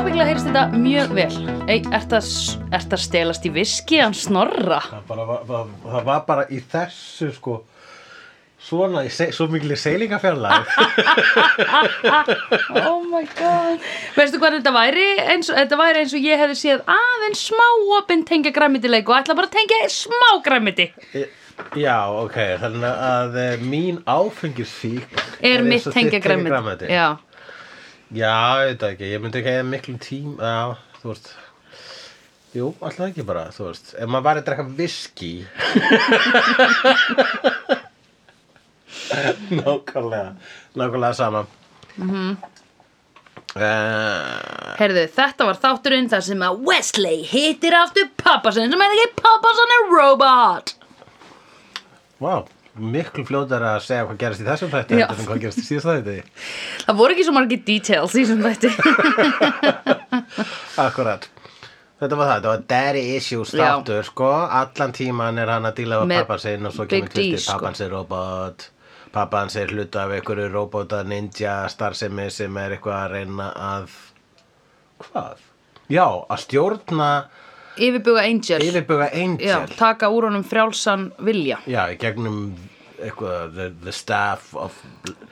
þetta mjög vel. Ei, ert að, ert að stelast í viski hann snorra? Það, bara, var, var, það var bara í þessu sko svona, í se, svo miklu seilingafjarlæg Oh my god. Veistu hvað þetta væri? Eins, og- þetta væri eins og ég hefði séð aðeins smá opinn tengja græmitileik og ætla bara að tengja smá græmiti. Já, ok, þannig að eh, mín áfengisfík Er mitt tengja græmiti. Já, Já. ég veit það ekki, ég myndi ekki eða miklu tím Já, þú veist Jú, alltaf ekki bara, þú veist Ef maður var að drekka viski Nákvæmlega Nákvæmlega sama Mhm. mm -hmm. Herðu, þetta var þátturinn þar sem að Wesley hittir aftur pappasinn sem hefði ekki pappasinn er robot. Vá, miklu fljótar að segja hvað gerast í þessum þætti Já. heldur en hvað gerast í síðast þætti. Það voru ekki svo margir details í þessum þætti. Akkurat. Þetta var það, þetta var Daddy Issues Já. þáttur, sko. Allan tíman er hann að díla við Með pappan sinn og svo Big kemur D, tvistið, sko. pappan sinn robot, pappan sinn hluta af einhverju robota ninja starfsemi sem er eitthvað að reyna að, hvað? Já, að stjórna Yfirbuga Angel. yfirbuga Angel. Já, taka úr honum frjálsan vilja. Já, í gegnum eitthvað, the, the staff of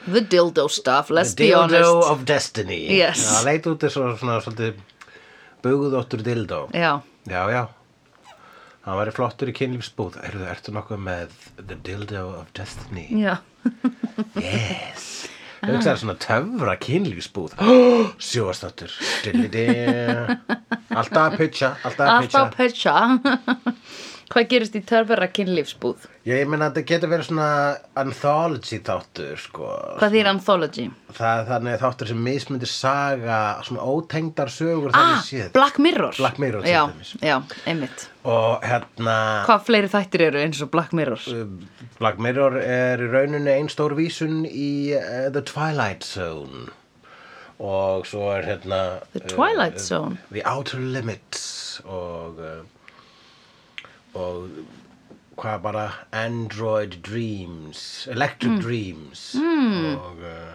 The dildo stuff, let's be dildo honest. of destiny Yes. það leit út eins og svona svolítið bugðóttur dildó Já, já, já hann væri flottur í kynlífsbúð ertu, ertu nokkuð með the dildo of destiny já. yes Ah. hugsaði svona töfra kynlífsbúð sjóastáttur Dilli-di. alltaf að pitcha alltaf að pitcha Alltaf pecha. Hvað gerist í törfara kynlífsbúð? ég meina að þetta getur verið svona anthology þáttur sko Hvað þýr anthology? það, þannig þáttur sem mismundir saga svona ótengdar sögur Ah, þannig séð Black Mirror. Black Mirror, til Já, dæmis. já, einmitt. og hérna Hvað fleiri þættir eru eins og Black Mirror? Um, Black Mirror er í rauninni einn stór vísun í uh, The Twilight Zone og svo er hérna The eh, Twilight eh, Zone? The Outer Limits og uh, og hvað bara Android Dreams Hmm. Electric Dreams og uh,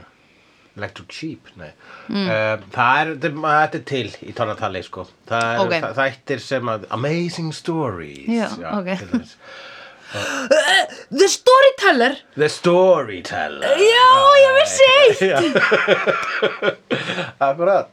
Electric Sheep nei Hmm. mm. það er, þetta er- þetta er til í tónatali sko það er Ok. þættir sem að Amazing Stories Já, ok. til dæmis. The Storyteller! The Storyteller Já, ég vissi eitt! Akkurat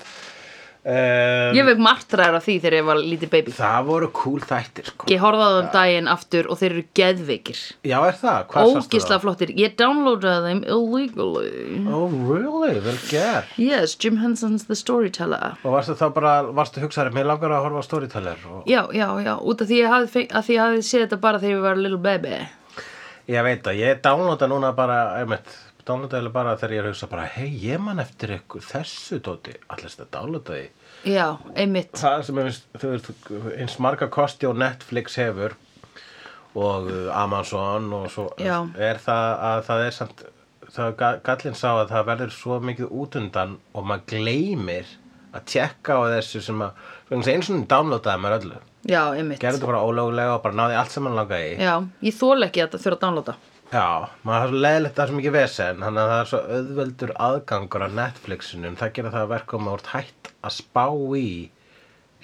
um, Ég veik martræðar af því þegar ég var lítið baby. Það voru cool þættir sko. Ég horfaði á þeim daginn aftur og þeir eru geðveikir. Já, er það? Hvað sástu Ógisla það? flottir. Ég downloadaði þeim illegally. Oh, really? Vel gert Yes, Jim Henson's The Storyteller. Og varstu þá bara, varstu hugsaður Mér langar að horfa á Storyteller og... Já, já, já, út af því ég hafði, feng- að því ég hafði séð þetta bara þegar ég var little baby. Ég veit það, ég downloada núna bara einmitt, Downloada eða bara þegar ég er að hugsa bara Hei, ég man eftir ykkur þessu dóti Allast að downloada því Já, einmitt. það sem er, þú veist, eins marga kosti og Netflix hefur og uh, Amazon og svo Já. er það að það er samt það er ga- gallinn sá að það verður svo mikið útundan og maður gleymir að tjekka á þessu sem að vegna þess að eins og downloadaði maður öllu Já, einmitt. gerði þetta bara ólögulega og bara náði allt sem hann langaði í Já, ég þóla ekki að þetta þurfa að downloada. Já, maður er svo leiðilegt það sem ekki vesen þannig að það er svo auðveldur aðgangur að Netflixinu en það gera það að verka um að úr hætt að spá í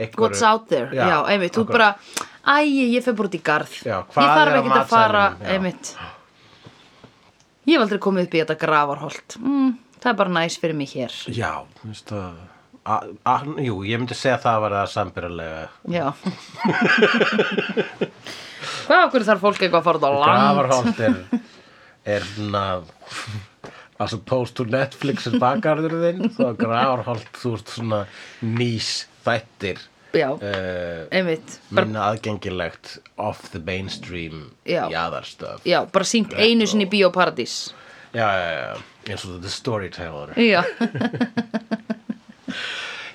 einhverju What's out there? Já, einmitt. Þú akkurat. bara, æ, ég fer bara út í garð. Já, ég hvað er þarf á ekkert að fara, matseðlinum? Já. einmitt. Ég hef aldrei komið upp í þetta gravarholt. Mm, það er bara næs fyrir mig hér. Já, minnst að a- a- Jú, ég myndi segja að það var það sambyrjulega Já. Hvað okkur þarf fólk eitthvað að fara út á land? Grafarholt er, er svona As opposed to Netflix er bakarður þinn Þá er Grafarholt, þú ert svona nýs þættir Já, uh, einmitt. Bara, Minna aðgengilegt off the mainstream Já. jaðarstöf já, bara sínt einu sinni í bíóparadís. Já, já, já, eins og The Storyteller Já.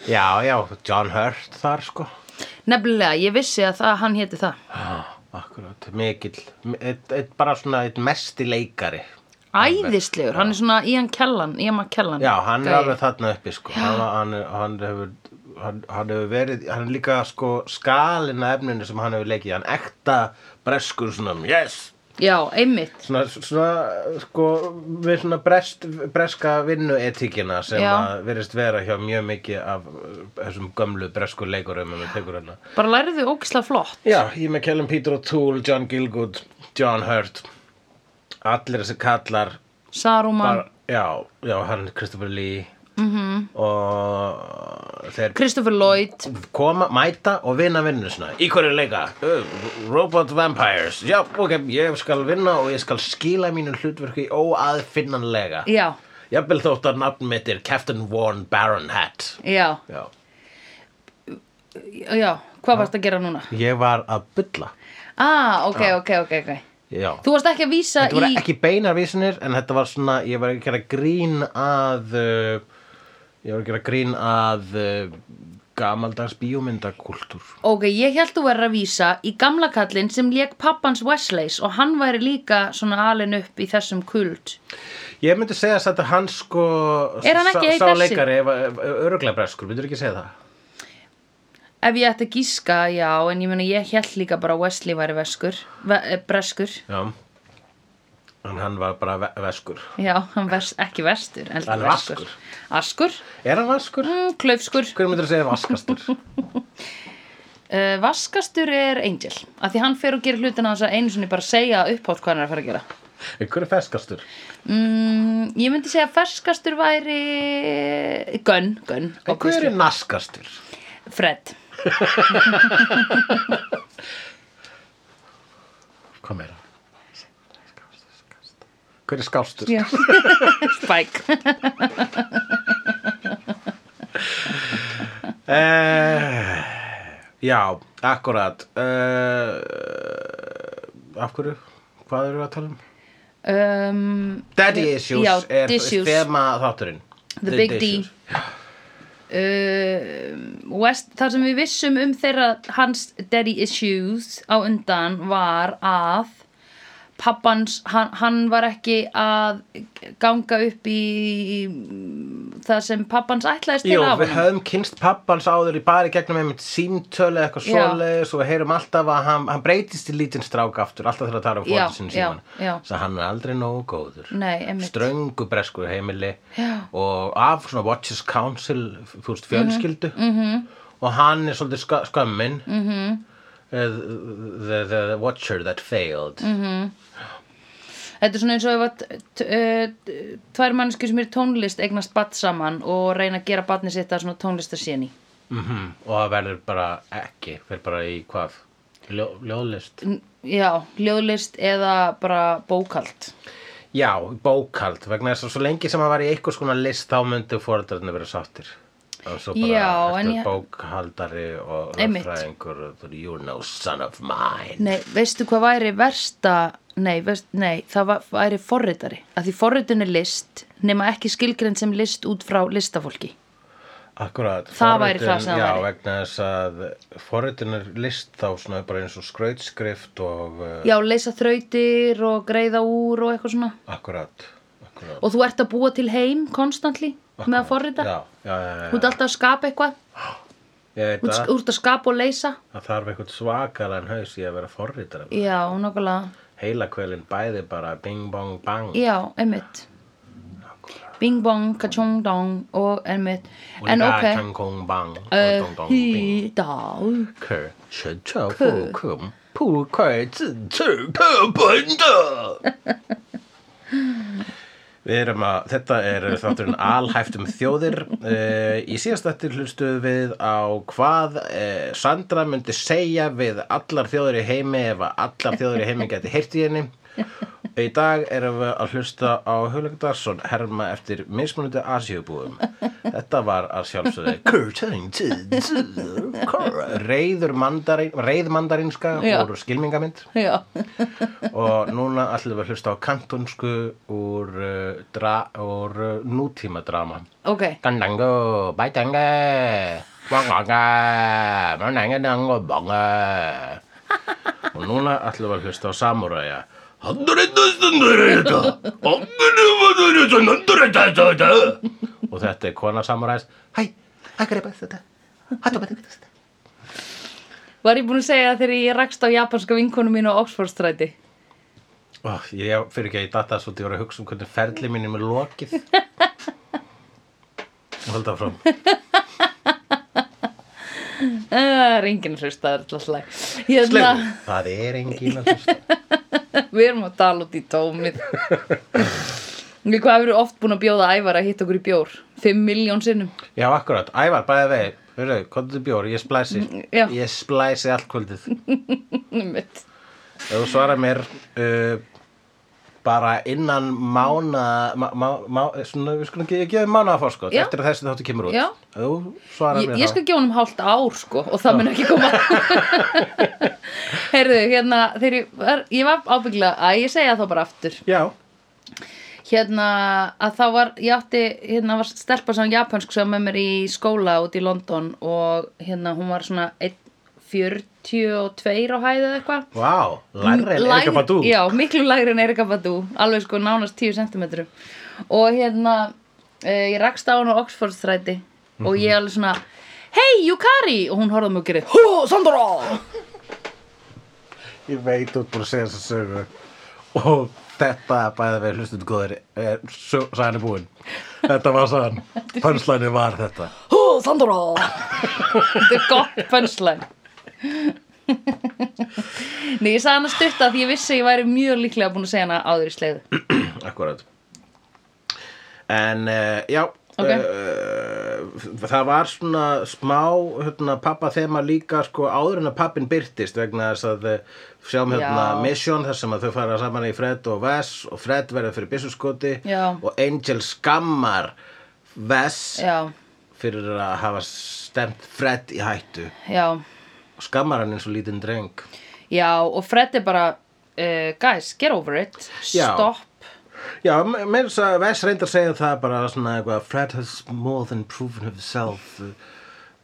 Já, já, John Hurt þar sko Nefnilega, ég vissi að það, hann héti það. Ah. Já, akkurat, mikill eitt, eitt, Bara svona eitt mesti leikari Æðislegur, hann er svona Ian Kellan, Ian McKellan. Já, hann er Gæi. alveg þarna uppi sko hann, hann, hann, hefur, hann, hann hefur verið Hann er líka sko skalinn að efninu sem hann hefur leikið Hann ekta breskur svona Yes, já, einmitt svona, svona sko, við svona brest, breska vinnuetíkina sem Já. að virðist vera hjá mjög mikið af uh, þessum gömlu bresku leikurum ef við tekur hana. bara lærið þau ógislega flott Já, ég með Kellen Peter O'Toole, John Gilgood, John Hurt allir þessi kallar Saruman, bara, já, já, hann Christopher Lee -hmm. og þeir Christopher Lloyd koma, mæta og vinna vinnu svona í hverju leika, Uh, Robot Vampires já, ok, ég skal vinna og ég skal skila mínu hlutverku í óaðfinnanlega já, jafnvel þótt að nafn mitt er Captain Warren Baron Hat já, já, já hvað varst að gera núna? ég var að bylla Ah, ok, ok, ok, ok já Þú varst ekki að vísa Þetta voru í ekki beinar vísinir en þetta var svona, ég var ekki að gera grín að uh, ég var að gera grín að uh, gamaldags bíómyndakúltúr Ok, ég held þú verður að vísa í gamla kallinn sem lék pappans Wesleys og hann væri líka svona alin upp í þessum kult. Ég myndi segja að þetta er hans sko Er hann ekki í sá, sá þessu? leikari, öruglega breskur, myndir ekki segja það? Ef ég ætti að gíska, já, en ég meina ég held líka bara að Wesley væri veskur, ve eh, breskur. Já En hann var bara ve veskur Já, hann vers, ekki vestur, heldur Hann er veskur. vaskur. Askur, Er hann vaskur? mm, klaufskur. Hver myndir segja vaskastur? Uh, vaskastur er Angel, af því hann fer og gerir hlutina hans að einu sinni bara segja upphátt hvað hann er að fara að gera. En Hver er feskastur? Mm, ég myndi segja að ferskastur væri Gunn, Gunn, En hver er naskastur? Fred. Hvað meira? Hver er skástur? Já. Spike. Uh, já, akkurat uh, Af hverju? Hvað eru við að tala um? um, Daddy Issues já, er issues. þema þátturinn The Big D. Issues. uh, West, þar sem við vissum um þeirra hans daddy issues á undan var að pappans, hann, hann var ekki að ganga upp í það sem pappans ætlaðist Jú, til af við honum höfum kynst pappans áður í bari gegnum einmitt símtölu eða eitthvað Já. svoleiðis og við heyrum alltaf að hann, hann breytist í lítinn strák aftur alltaf þegar að tala um Já, fótið sinni já, síman já. Svo hann er aldrei nógu góður Nei, einmitt. Ströngu breskur heimili Já. Mhm, og af svona Watches Council fúst fjölskyldu -hmm. og hann er svolítið ska skömmin mm -hmm. Mhm. the, the, the Watcher that failed Mhm. mm -hmm. Þetta er svona eins og ef að t- t- uh, tvær mannsku sem er tónlist eignast batt saman og reyna að gera batni sitt að svona tónlistaséni Mhm. og það verður bara ekki verður bara í hvað Ljó, ljóðlist Já, ljóðlist eða bara bókald Já, bókald, vegna þess að svo lengi sem hann var í einhvers konar list þá myndu fóreldrarnir vera sáttir og svo bara Já, en eftir ég- bókhaldari og Einmitt. lögfræðingur og þú- you know son of mine Nei, veistu hvað væri versta Nei, veist, nei það va- væri forritari að því forritun er list nema ekki skilgrind sem list út frá listafólki Akkurat, Það væri það forritun- sem það Já, væri. vegna þess að forritun er list þá svona bara eins og skrautskrift og uh, Já, leysa þrautir og greiða úr og eitthvað svona akkurat, akkurat og þú ert að búa til heim konstantli með að forrita Já, já, já, já, Þú ert alltaf að skapa eitthvað ég veit Þú ert- að þú ert að skapa og leysa það þarf eitthvað svakalan haus í að vera forritar Já, nokkulega Heilakvelin bæði bara bing bong bang Já, einmitt Bing bong, kachong dong og einmitt Og En líka ok tang kong bang og uh, dong dong bing Hí, dá 可神策不可不快自制课本的。Við erum að, þetta er þátturinn alhæft um þjóðir. Uh, í síðast þetta hlustuðum við á hvað uh, Sandra myndi segja við allar þjóðir í heimi ef að allar þjóðir í heimi geti heyrt í henni. Í dag erum við að hlusta á Hulagdarsson herma eftir mismunandi asjöbúum. Þetta var að sjálfsögðu Curtain to- to- Reiður mandarin, reið mandarinska Já. úr skilmingamynd Já, og núna ætlum við að hlusta á kantonsku úr, uh, dra, úr uh, nútíma drama ok Gandango, bætange Wangange, manangandango, bange Og núna ætlum við að hlusta á samuræja Og þetta er kona samuræs Hæ, ægripa þetta Hættu bara þetta Var ég búin að segja það þegar ég rakst á japanska vinkonu mín á Oxfordstræti? Ó, ég fyrir ekki að ég datta svolítið ég var að hugsa um hvernig ferli minni með lokið. Hald áfram. Það er enginn hlustaður til að slag. Hérna, Slegðu. Það er engin að hlusta. við erum að tala út í tómið. Við hvað hefur oft búin að bjóða ævar að hitta okkur í bjór? 5 miljón sinnum. Já, akkurat. Ævar, bæði vegi. Hörru, komdu til bjór, ég splæsi. Mm, Já. Ég splæsi allt kvöldið. Einmitt. Ef þú svarar mér uh, bara innan mána, má, má, má, svona, við skulum ge- gefa mánaða fórskot Já. eftir að þessi þáttu kemur út. Já. Ef þú svarar Ég, mér ég skal gefa honum hálft ár sko og það mun ekki koma Heyrðu, hérna þegar ég var, ég var ábyggla að ég segja þá bara aftur Já, hérna að þá var, ég átti hérna var stelpa sem japansk sem var með mér í skóla út í London og hérna hún var svona 1.42 á hæðu eða eitthvað vá, wow. lærri en Lægri- Erika Badú. Já, miklu lægri en Erika Badú Alveg sko nánast 10 cm Og hérna uh, Ég rakst á hún á Oxford stræti Og Mhm. ég alveg svona Hey Yukari Og hún horfði á mig og gerði Hú, Sandra Ég veit út búin að segja þess að sögu og þetta bæði við hlustum góðir er sæðan er búin þetta var sæðan, pönslæni var þetta Hú, Sandra Þetta er gott pönslæn Nei, ég sagði hana stutta Því ég vissi að ég væri mjög líklega búin að segja hana áður í sleiðu akkurat en uh, já Ok. uh, það var svona smá hérna, pappa þema líka sko, áður en að pappin byrtist vegna þess að eh, sjáum hérna Já. Mission þar sem að þau fara saman í Fred og Vess og Fred verður fyrir byssuskoti Já. og Angel skammar Vess Já, fyrir að hafa stemt Fred í hættu já og skammar hann eins og lítinn dreng Já, og Fred er bara uh, Guys, get over it Já. Stopp Já, mér þess að Vess reyndar að segja það bara svona eitthvað Fred has more than proven himself uh,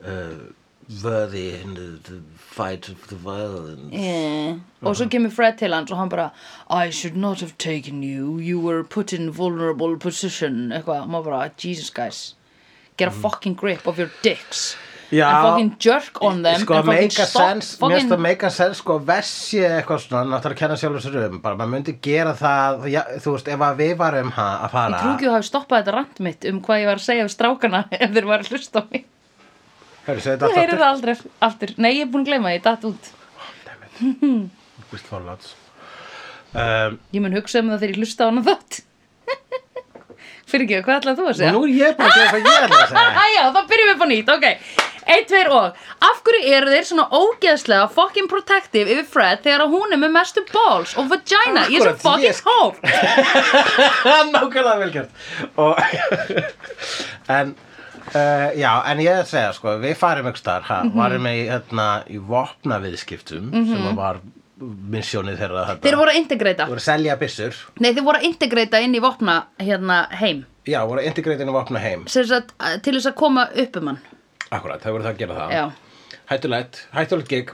uh, worthy in the, the fight of the violence Yeah. Eh. Og Mhm. svo kemur Fred til hans og hann bara I should not have taken you You were put in vulnerable position Eitthvað, maður bara, Jesus guys Get a fucking grip of your dicks Mhm. Já. And fucking jerk on them Sko and að fucking meika stop sens, mér fucking... finnst að meika sens sko að Vess sé eitthvað svona, náttúrulega að kenna sjálfur sér um bara maður myndi gera það, já, þú veist, ef að við varum ha- að Ég fara trú ekki að hafa stoppað þetta rant mitt um hvað ég var að segja við strákana ef þeir var að hlusta á mig. Hörru, segðu Þú þetta heyrir það aldrei aftur. Nei, ég er búin að gleyma því, ég datt út. Dammit, we're for lots um, Ég mun hugsa um það þegar ég hlusta á hana þátt. Fyrir ekki, hvað ætlaði þú að segja? Nú er ég bara að gera hvað ég ætla að segja Æja, þá byrjum við upp á nýtt, ok Eitt, tveir og Af hverju eru þeir svona ógeðslega fucking protective yfir Fred þegar að hún er með mestu balls og vagina Ég er svo Akkúrat, ég fucking sk- hóf nákvæmlega velgjört og en Uh, já, en ég er að segja, sko, við farum ykkur starf, mm Mhm. -hmm. varum í, hérna, í vopnaviðskiptum sem að var misjónið þeirra þetta. Þeir voru að integrata voru að selja byssur, Nei, þeir voru að integrata inn í vopna hérna heim já, voru að integrate inn í vopna heim. Sem sagt, að- Til þess að koma upp um hann Akkurat, það voru það að gera það. Já. Hættulegt, hættulegt gig.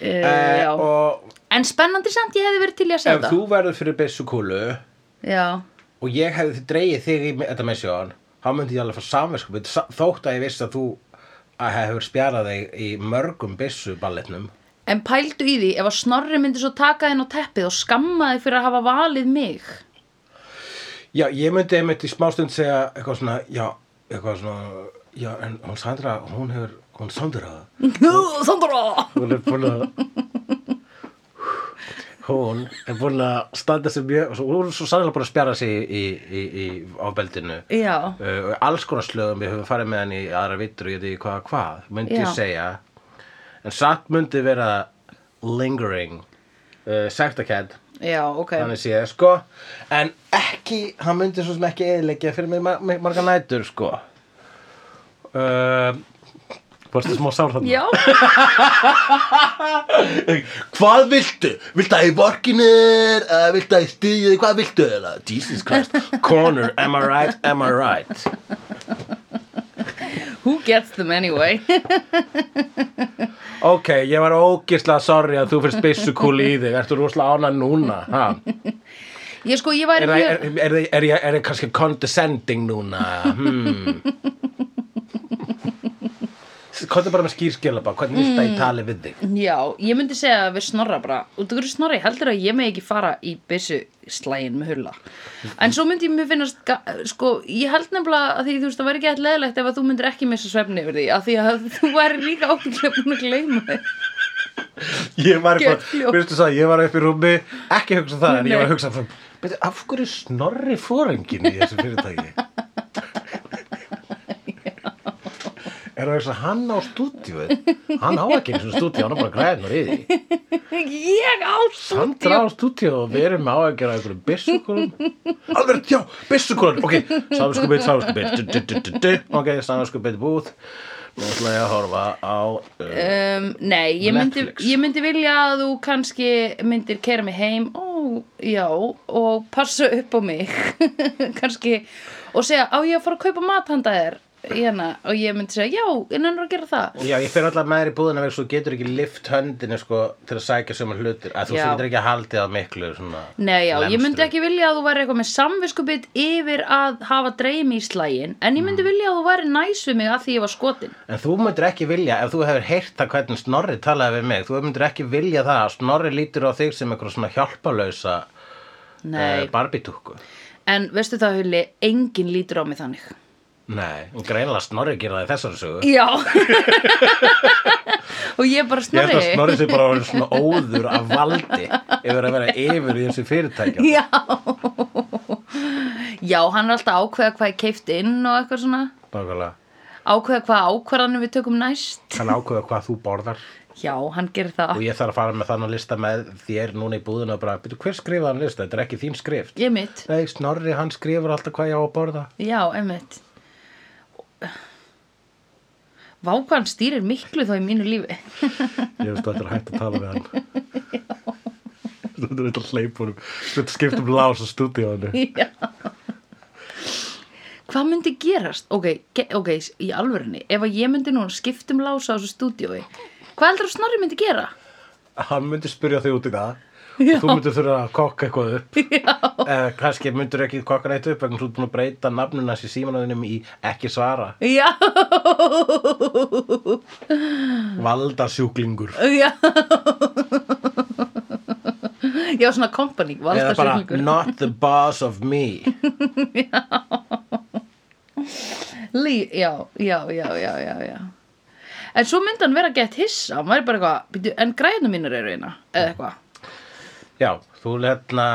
Eh, Eh, já. og En spennandi samt, ég hefði verið til í að segja ef þetta þú verður fyrir byssukúlu Já, og ég hefði dreigið þig í me- þetta misjón, þá myndi ég alveg fá samverskupið, þótt að ég vissi að þú að hefur spjarað þig í mörgum byssuballetnum. en pældu í því ef að Snorri myndi svo taka þinn á teppið og skamma þig fyrir að hafa valið mig Já, ég myndi einmitt í smástund segja eitthvað svona, já, eitthvað svona, já, en hún Sandra, hún hefur, hún Sandra, Sandra hún er búin að, hún er búin að standa sem mjög, hún er svo sannlega búin að spjara sig í, í, í, í ábeldinu. Já, Uh, alls konar slögum við höfum farið með hann í aðra vittur og ég veit ekki hvað, hvað, myndi Já. ég segja. En samt myndi vera lingering, uh, sektakend. já, ok þannig séð sko en ekki, hann myndi svo sem ekki eðilegja fyrir mig mar mig marga nætur sko uh, Varstu smá sár þarna? Já Hvað viltu? Viltu að ég borginir? Uh, viltu að ég stýði? Hvað viltu? Eða, Jesus Christ Corner, am I right? Am I right? Who gets them anyway? Ok, ég var ógislega sorry að þú fyrst byssukúli í þig Ertu rosalega ána núna? Ha? ég sko, ég væri Er, er, mjög... er, er, er, er, er kannski condescending núna? Hmm. komðu bara með skýrskilaba, hvernig vilt að ég tali við þig? Já, ég myndi segja að við snorra bara út af hverju snorri, heldur að ég með ekki fara í byssu slægin með hulla en svo myndi ég mér finnast ga- sko, ég held nefnilega að því þú veist það væri ekki alltaf leðilegt ef að þú myndir ekki missa svefni yfir því að því að þú væri líka ábyggilega búin að gleyma þig Ég var Gjörð bara, hljóð. veistu það, ég var upp í rúmi, ekki að hugsa það, en ég var að Nei. hugsa það, betur, af hverju snorri fóringin í þessu fyrirtæki? Er það að hugsa, hann á stúdíuð, hann á ekki eins og stúdíu, hann á bara græðnar í því. ég á Sandra stúdíu á stúdíu og við erum með áhyggjur af einhverjum byssukulum. Alveg, já, byssukulum, ok, samskupið, samskupið, ok, samskupið búð. Nú ætla ég að horfa á... Uh, um, nei, ég myndi, Netflix. ég myndi vilja að þú kannski myndir kera mig heim ó, já, og passa upp á mig kannski og segja, á ég að fara að kaupa mat handa þér hérna, og ég myndi segja, já, innan að gera það Já, ég fer alltaf með þér í búðina vegna svo getur ekki lift höndinu sko til að sækja sömur hlutir að þú Já. svo getur ekki að haldið að miklu svona Nei, já, ég myndi lemstri. ekki vilja að þú væri eitthvað með samviskubit yfir að hafa dreymi í slægin en ég myndi vilja að þú væri næs við mig að því ég var skotin En þú myndir ekki vilja, ef þú hefur heyrt það hvernig Snorri talaði við mig, þú myndir ekki vilja það að Snorri lítur á þig sem eitthvað svona hjálpalausa uh, Nei, barbitúku en veistu það, Hulli, engin lítur á mig þannig Nei, og greinilega Snorri gera það í þessari sögu Já Og ég er bara Ég held snorri að Snorri sé bara orðinn svona óður af valdi yfir að vera yfir í þessu fyrirtækja Já Já, hann er alltaf að ákveða hvað ég keift inn og eitthvað svona Nákvæmlega, Ákveða hvað ákvarðanum við tökum næst hann ákveða hvað þú borðar Já, hann gerir það og ég þarf að fara með þannig lista með þér núna í búðinu og bara, byrju, hver skrifaði hann lista? Þetta er ekki þín skrift. Ég mitt Nei, Snorri, hann skrifur alltaf hvað ég á að borða. Já, einmitt Vá hvað hann stýrir miklu þá í mínu lífi Ég veist þetta er hægt að tala við hann. Þetta er eitthvað hleypunum. Þetta skiptum um lás á stúdíónu. Já Hvað myndi gerast? Ok, ge ok, s- í alvörinni Ef að ég myndi núna skiptum lása á þessu stúdíói Hvað heldur að Snorri myndi gera? Hann myndi spyrja þig út í það. og Þú myndir þurfa að kokka eitthvað upp. Já. Eh, kannski myndir ekki kokka neitt upp vegna þú ert búin að breyta nafninu hans í símanuðinum í ekki svara. Já Valdasjúklingur. Já Já, svona company Eða bara Valdarsjöflingur not the boss of me. Lí, já, já, já, já, já, já. En svo myndi hann vera gett hissa, hann væri bara eitthvað, "Bíddu, en græðinu mínur eru eina, eða eitthvað. Já, þú hérna,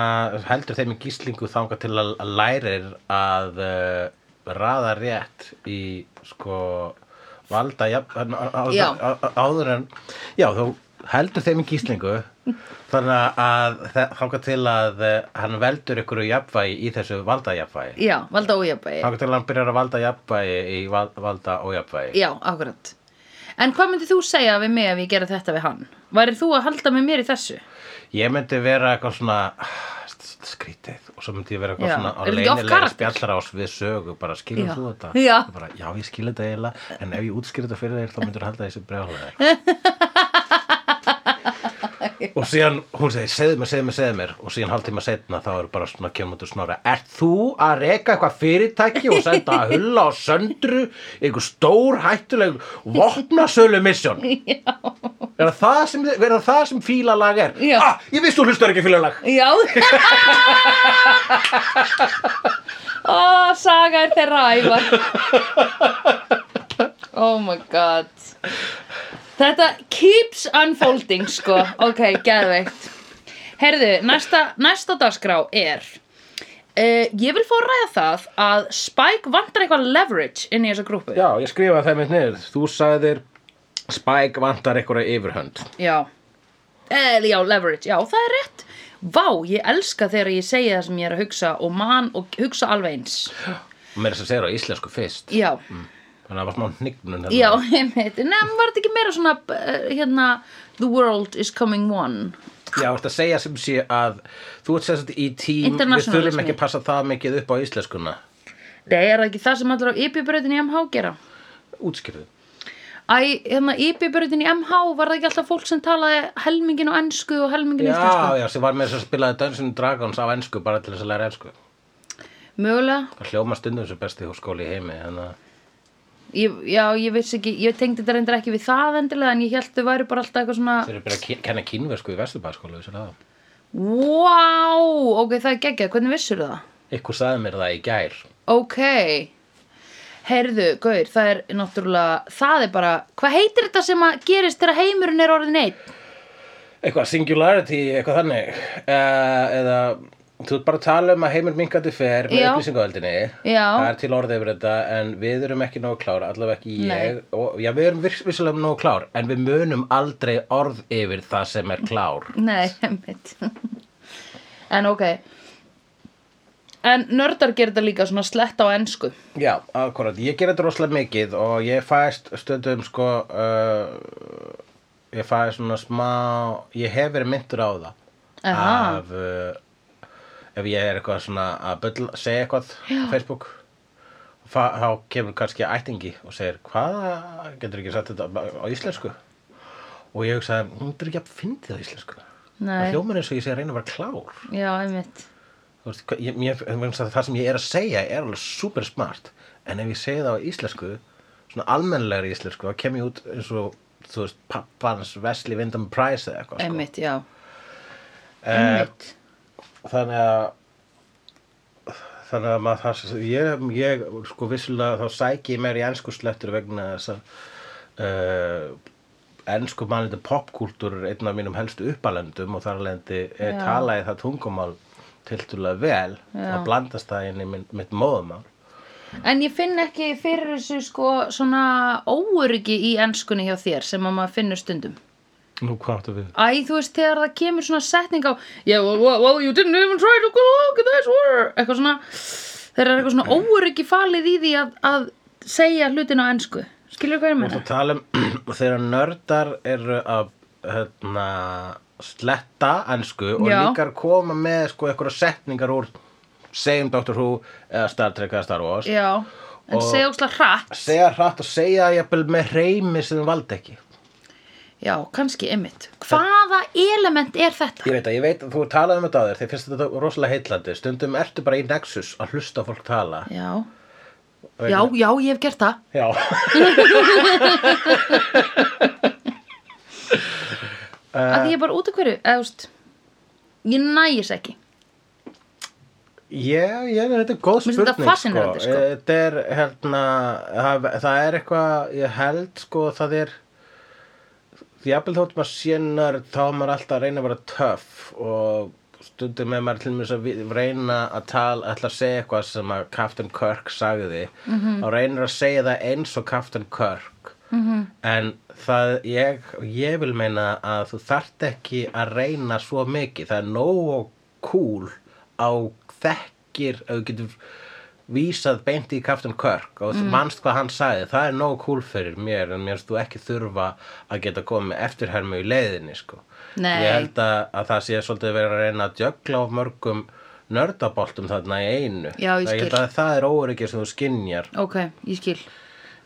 heldur þeim í gíslingu þangað til að að lærir að uh, raða rétt í sko valda jafn, á, á, Já. á, á, áður en já, þú heldur þeim í gíslingu þannig að þa- þangað til að uh, hann veldur ykkur jafnvægi í þessu valda jafnvægi Já, valda ójabæði. þangað til að hann byrjar að valda jafnvægi í val, valda ójafnvægi Já, akkurat. En hvað myndi þú segja við mig ef ég gera þetta við hann? Væri þú að halda með mér í þessu? ég myndi vera eitthvað svona ah, st- skrítið og svo myndi ég vera eitthvað Já. svona á Er þetta ekki off leynilegri character? spjallarás við sögu bara skilur Já. þú þetta Já. Ég bara, já ég skilur þetta eiginlega en ef ég útskýr þetta fyrir þér þá myndur halda þessi brjálega og síðan hún segi segðu mér, segðu mér, segðu mér og síðan haldið maður setna þá er bara svona kemur út snora er þú að reka eitthvað fyrirtæki og senda að hulla og söndru einhver stór hættuleg vopnasölu misjón er það það sem, er það það sem fílalag er Já. ah, ég visst þú hlustar ekki á fílalag Já. Ó, saga er þeirra ævar. Oh my god. Þetta keeps unfolding, sko. Ok, geðveikt. Herðu, næsta, næsta dagskrá er... Uh, ég vil fá að ræða það að Spike vantar eitthvað leverage inn í þessa grúpu. Já, ég skrifaði það mitt niður. Þú sagðir Spike vantar einhverja yfirhönd. Já. Eh, já, leverage, já, það er rétt. Vá, ég elska þegar ég segi það sem ég er að hugsa og man og hugsa alveg eins. Og mér þess að segja það á íslensku fyrst. Já, Þannig að það var smá hnignun. hérna. já, einmitt. Nefn, var þetta ekki meira svona, eh, hérna, the world is coming one. Já, þú ert að segja sem sé að þú ert sem sagt í tím, við Internationalismi. þurfum ekki að passa það mikið upp á íslenskuna. Nei, er það ekki það sem allir á ypjubrautin í MH gera? Útskýrðu. Æ, hérna, ypjubrautin í MH var það ekki alltaf fólk sem talaði helmingin á ensku og helmingin á Já, íslensku? já, sem var með þess að spilaði Dungeons and Dragons á ensku bara til þess að læra ensku. Mögulega, Það hljóma stundum sem besti húskóli í heimi, þannig að ég, já, ég veist ekki, ég tengdi þetta reyndar ekki við það endilega en ég held þau væri bara alltaf eitthvað svona Þeir eru bara að ken- kenna kínversku í Vesturbæðaskóla, vissi það? wow, ok, það er geggjað, hvernig vissur það? Ykkur sagði mér það í gær. Ok, heyrðu, gaur, það er náttúrulega, það er bara, hvað heitir þetta sem að gerist þegar heimurinn er orðin einn? Eitthvað singularity, eitthvað þannig. Uh, eða, þú ert bara að tala um að heimur minkandi fer með Já. upplýsingaöldinni. Já. Það er til orðið yfir þetta, en við erum ekki nógu klár, allavega ekki ég. Nei. Og, já, við erum viss- vissulega nógu klár, en við munum aldrei orð yfir það sem er klár. Nei, einmitt. en ok, en nördar gerir þetta líka svona slett á ensku. Já, akkurat, ég ger þetta rosalega mikið og ég fæst stundum sko uh, ég fæst svona smá ég hef verið myndur á það Aha. af uh, ef ég er eitthvað svona að bull, segja eitthvað á Facebook fa, þá kemur kannski ættingi og segir hvaða, getur ekki sagt þetta á íslensku og ég hugsaði, hún er ekki að fyndi það á íslensku Nei. það hljómar eins og ég sé að reyna að vera klár Já, einmitt. Þú veist, hvað- ég, mér, mér, það sem ég er að segja er alveg super smart en ef ég segi það á íslensku svona almennilegri íslensku þá kem ég út eins og þú veist pappans Wesley Wyndham Price eða eitthvað sko. Einmitt, já. Eh. Einmitt. þannig að þannig að maður það ég, ég sko vissulega þá sæki ég mér í ensku slettur vegna þess að uh, ensku mannlita popkúltúr er einn af mínum helstu uppalendum og þar lendi Já. tala ég það tungumál tiltulega vel Já. og blandast það inn í minn, mitt móðumál En ég finn ekki fyrir þessu sko svona óöryggi í enskunni hjá þér sem að maður finnur stundum. Nú hvað áttu við? Æ, þú veist, þegar það kemur svona setning á yeah, well, well, well, you didn't even try to go look at this word eitthvað svona þeir eru eitthvað svona óöryggi falið í því að, að segja hlutin á ensku skilur hvað ég Þú meina? tala um þegar nördar eru að hérna, sletta ensku og Já. líka að koma með sko eitthvað setningar úr segjum Doctor Who eða Star Trek eða Star Wars Já, en Og- segja ókslega hratt segja hratt og segja jafnvel með reymi sem þú valdi ekki Já, kannski einmitt Hvaða element er þetta? Ég veit að, ég veit að þú talaði um þetta á þér þegar finnst þetta rosalega heitlandi stundum ertu bara í Nexus að hlusta á fólk tala Já, já, já, ég hef gert það Já að því ég er bara út af hverju, eða þú veist ég nægis ekki Já, já, þetta er góð Mér spurning finnst þetta fascinerandi, sko. Eh, Þetta er, hérna, það, það er eitthvað, ég held, sko, það er Jafnvel þótt maður sénar, þá er maður alltaf að reyna að vera töff og stundum með maður til mér að vi- reyna að tala, ætla að segja eitthvað sem að Captain Kirk sagði og reynir að segja það eins og Captain Kirk -hmm. en það, ég, ég vil meina að þú þarft ekki að reyna svo mikið, það er nógu cool á þekkir, ef þú getur vísað beint í Captain Kirk og mm. manst hvað hann sagði, það er nógu cool fyrir mér en mér finnst þú ekki þurfa að geta komið með eftirhermu í leiðinni sko. Nei. ég held að, að það sé svolítið verið að reyna að jögla á mörgum nördaboltum þarna í einu Já, ég Það- held skil. að það er óryggir sem þú skinjar Ok, ég skil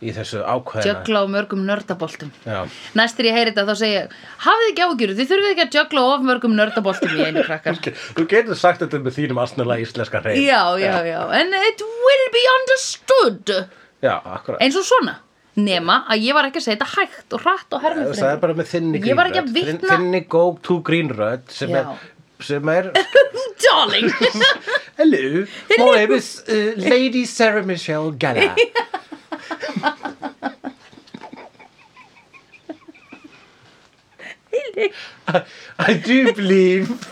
í þessu ákveðina Jögla á mörgum nördaboltum Já. Næst þegar ég heyri þetta þá segi ég Hafið ekki ágjur, þið þurfið ekki að jögla of mörgum nördaboltum í einu krakkar Þú getur sagt þetta með þínum asnalega íslenska reynd Já, já, já, en it will be understood Já, akkurat Eins og svona Nema að ég var ekki að segja þetta hægt og hratt og hermifrið Það er bara með þinni Ég var ekki að grínrödd. Þinn- vitna- Þinni go-to grínrödd sem Já. er, sem er Darling Hello, my name is uh, Lady Sarah Michelle Gellar. I, I do believe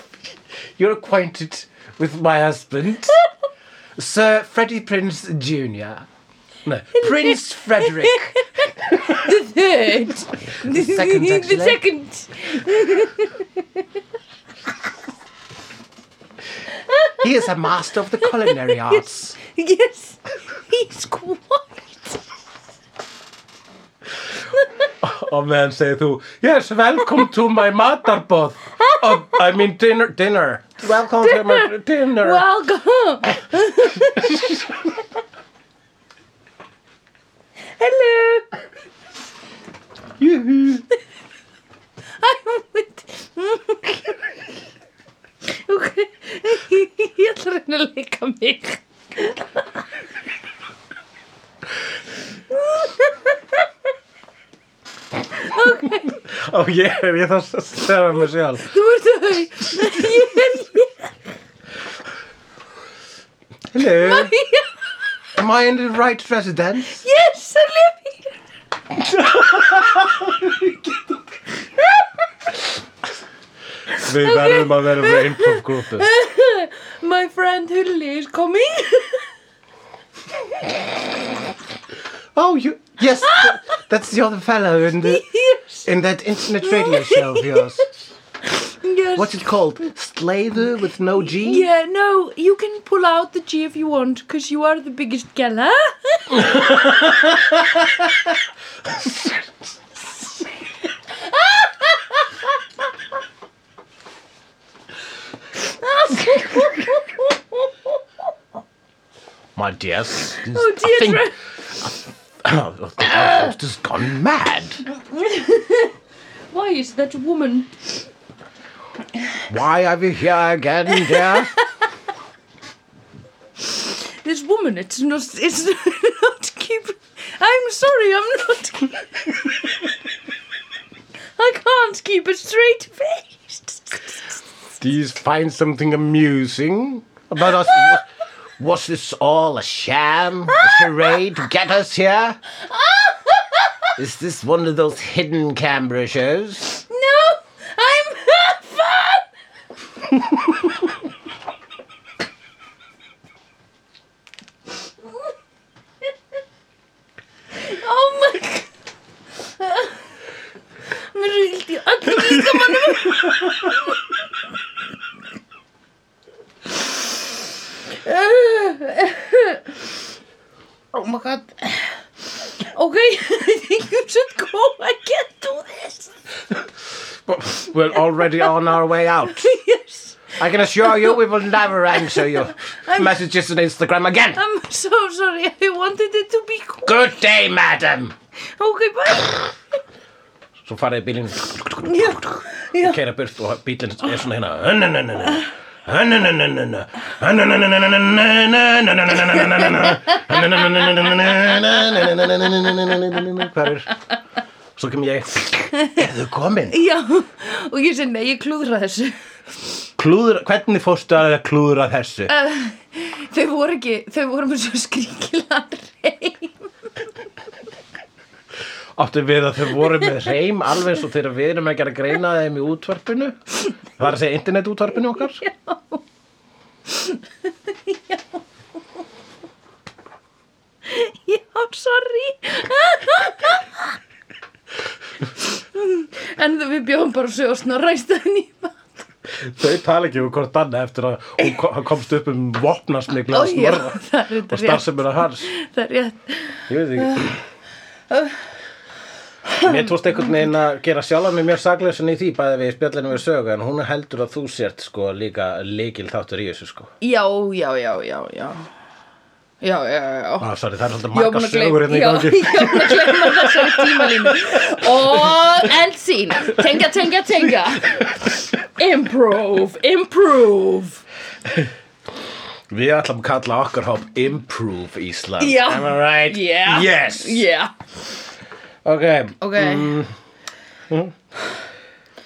you're acquainted with my husband, Sir Freddie Prince Jr. No, Prince Frederick. The third The second, actually. The second He is a master of the culinary arts. Yes, he's quite Og meðan segir þú Yes, welcome to my matarboð oh, I mean dinner, dinner Welcome to my dinner Welcome Hello Juhu I'm with Ok Ég ætla að reyna að leika mig og ég, ég þarf að segja mér sjálf Þú ert þau Ég er hello, ég am I in the right residence? Yes, I live here við verðum að vera með improv grúpu My friend Hulli is coming oh, you, yes, th- that's the other fellow in, the, Yes, in that internet radio show of yours yes what's it called? Slaver with no G? Yeah, no, you can pull out the G if you want Because you are the biggest gala my dear, s- Oh I dear, think Dre- the host has gone mad. Why is that woman? Why are we here again, dear? This woman, it's not. It's not keep. I'm sorry, I'm not. I can't keep a straight face. Do you find something amusing about us? Wa- Was this all a sham, a charade to get us here? Is this one of those hidden Canberra shows? No, I'm fun. oh my god. Mér er svo illt í öllu líkamannum. oh my god. Okay, I think you should go. I can't do this. We're already on our way out. yes. I can assure you we will never answer your messages on Instagram again. I'm so sorry. I wanted it to be cool. Good day, madam. Okay, bye. Svo farið bílinn Já, já. keira burt og bílinn er svona hérna Hvar er? Svo kem ég Er þau komin? Já, og ég segi, nei, ég klúðra þessu. Klúður, hvernig fórstu að klúðra þessu? Eh, Þau voru ekki, þau voru með svo skringilega reym. Áttu við að þau voru með reym alveg svo þegar við erum ekki að greina þeim í útvarpinu? Það er að segja internetútvarpinu okkar? Já, sorry. en þau- við bjóðum bara svo snar ræstaðin í maður. Þau tala ekki um hvort annað eftir að hún ko- hann komst upp um vopnarsmikla Ó, og já, snorra það er og þetta rétt. starfsemina hans. Það er rétt. Ég veit ekki Mér tókst einhvern veginn að gera sjálf með mér saklausin í því bæði við spjallinu við sögu en hún heldur að þú sért sko líka leikil þáttur í þessu sko Já, já, já, já, já. Já, já, já. ah, sorry, það er svolítið Ég var búin margar að sögur hérna í gleyma- gangi Já, ég var búin að gleyma þessari tímalínu Og eldsín Tenga, tenga, tenga Improve, improve Við ætlum að kalla okkar hóp Improve Ísland Já. Am I right? Yeah Yes Yeah Ok, Ok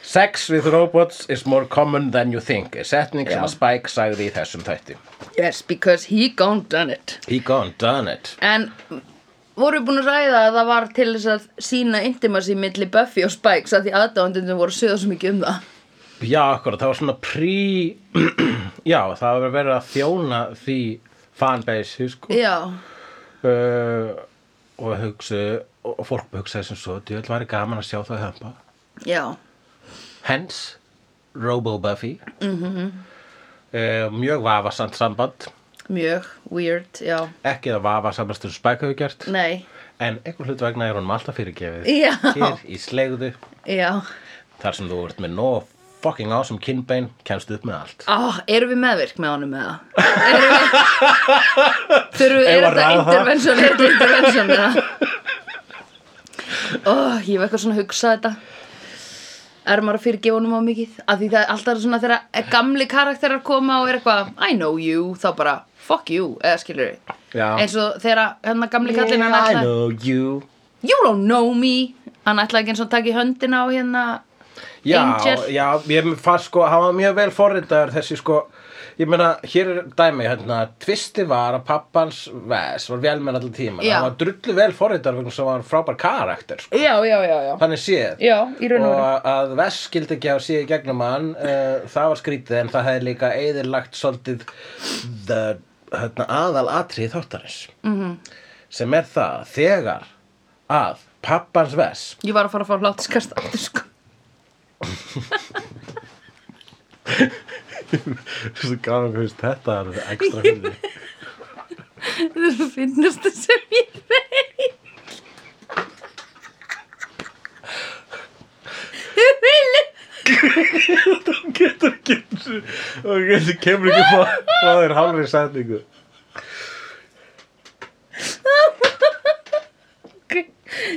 Sex with robots is more common than you think er setning sem að Spike sagði í þessum þætti Yes, because he gone done it He gone done it En voru búin að ræða að það var til þess að sína intimacy milli Buffy og Spikes að því aðdándinu voru að sögða svo mikið um það Já, akkurat, það var svona prí Já, það var verið að þjóna því fanbase sko. Já, uh, og hugsu og fólk hugsaði sem svo djöld væri gaman að sjá það hömpa já, Hens, Robo-Buffy mm Mhm. -hmm. uh, Mjög vafasamt samband mjög weird, já, ekki að vafasamast um spæk hafi gert nei en einhver hlut vegna er honum alltaf fyrirgefið Já. hér í slegðu Já, þar sem þú ert með nóg fucking awesome kynbein kemst upp með allt Ah, erum við meðvirk með honum eða? Erum við... Þurfum við, er Eigum að þetta ræða það? intervention, er þetta intervention eða? Ó, ég hef eitthvað svona að hugsa þetta. Er maður að fyrirgefa honum á mikið? Af því það er alltaf svona þegar gamli karakterar koma og er eitthvað, I know you, þá bara, fuck you, eða skilur við. Já. Eins og þegar hérna gamli kallinn hann I ætlaði, know you you don't know me, hann ætlaði ekki eins og að taka í höndina á hérna já, Angel. já, ég fannst sko, hann var mjög vel forritaður þessi sko, ég meina, hér er dæmi, hérna, tvisti var að pappans ves var velmenn allan tíma, Já. hann var drullu vel forritaður vegna sem var frábær karakter, sko, já, já, já, já, þannig séð. já í raun og veru Og að Vess skildi ekki að sé í gegnum hann, uh, það var skrítið en það hefði líka eðirlagt svolítið the, hérna, aðal atrið þáttarins. Mhm. -hmm. Sem er það þegar að pappans Vess ég var að fara að fá hlátiskast aftur sko Svo gaman hvað veist þetta er ekstra fyrir þetta er það finnast sem ég veit þau vilja Þú getur ekki og þú kemur ekki fá, fá þér halvri setningu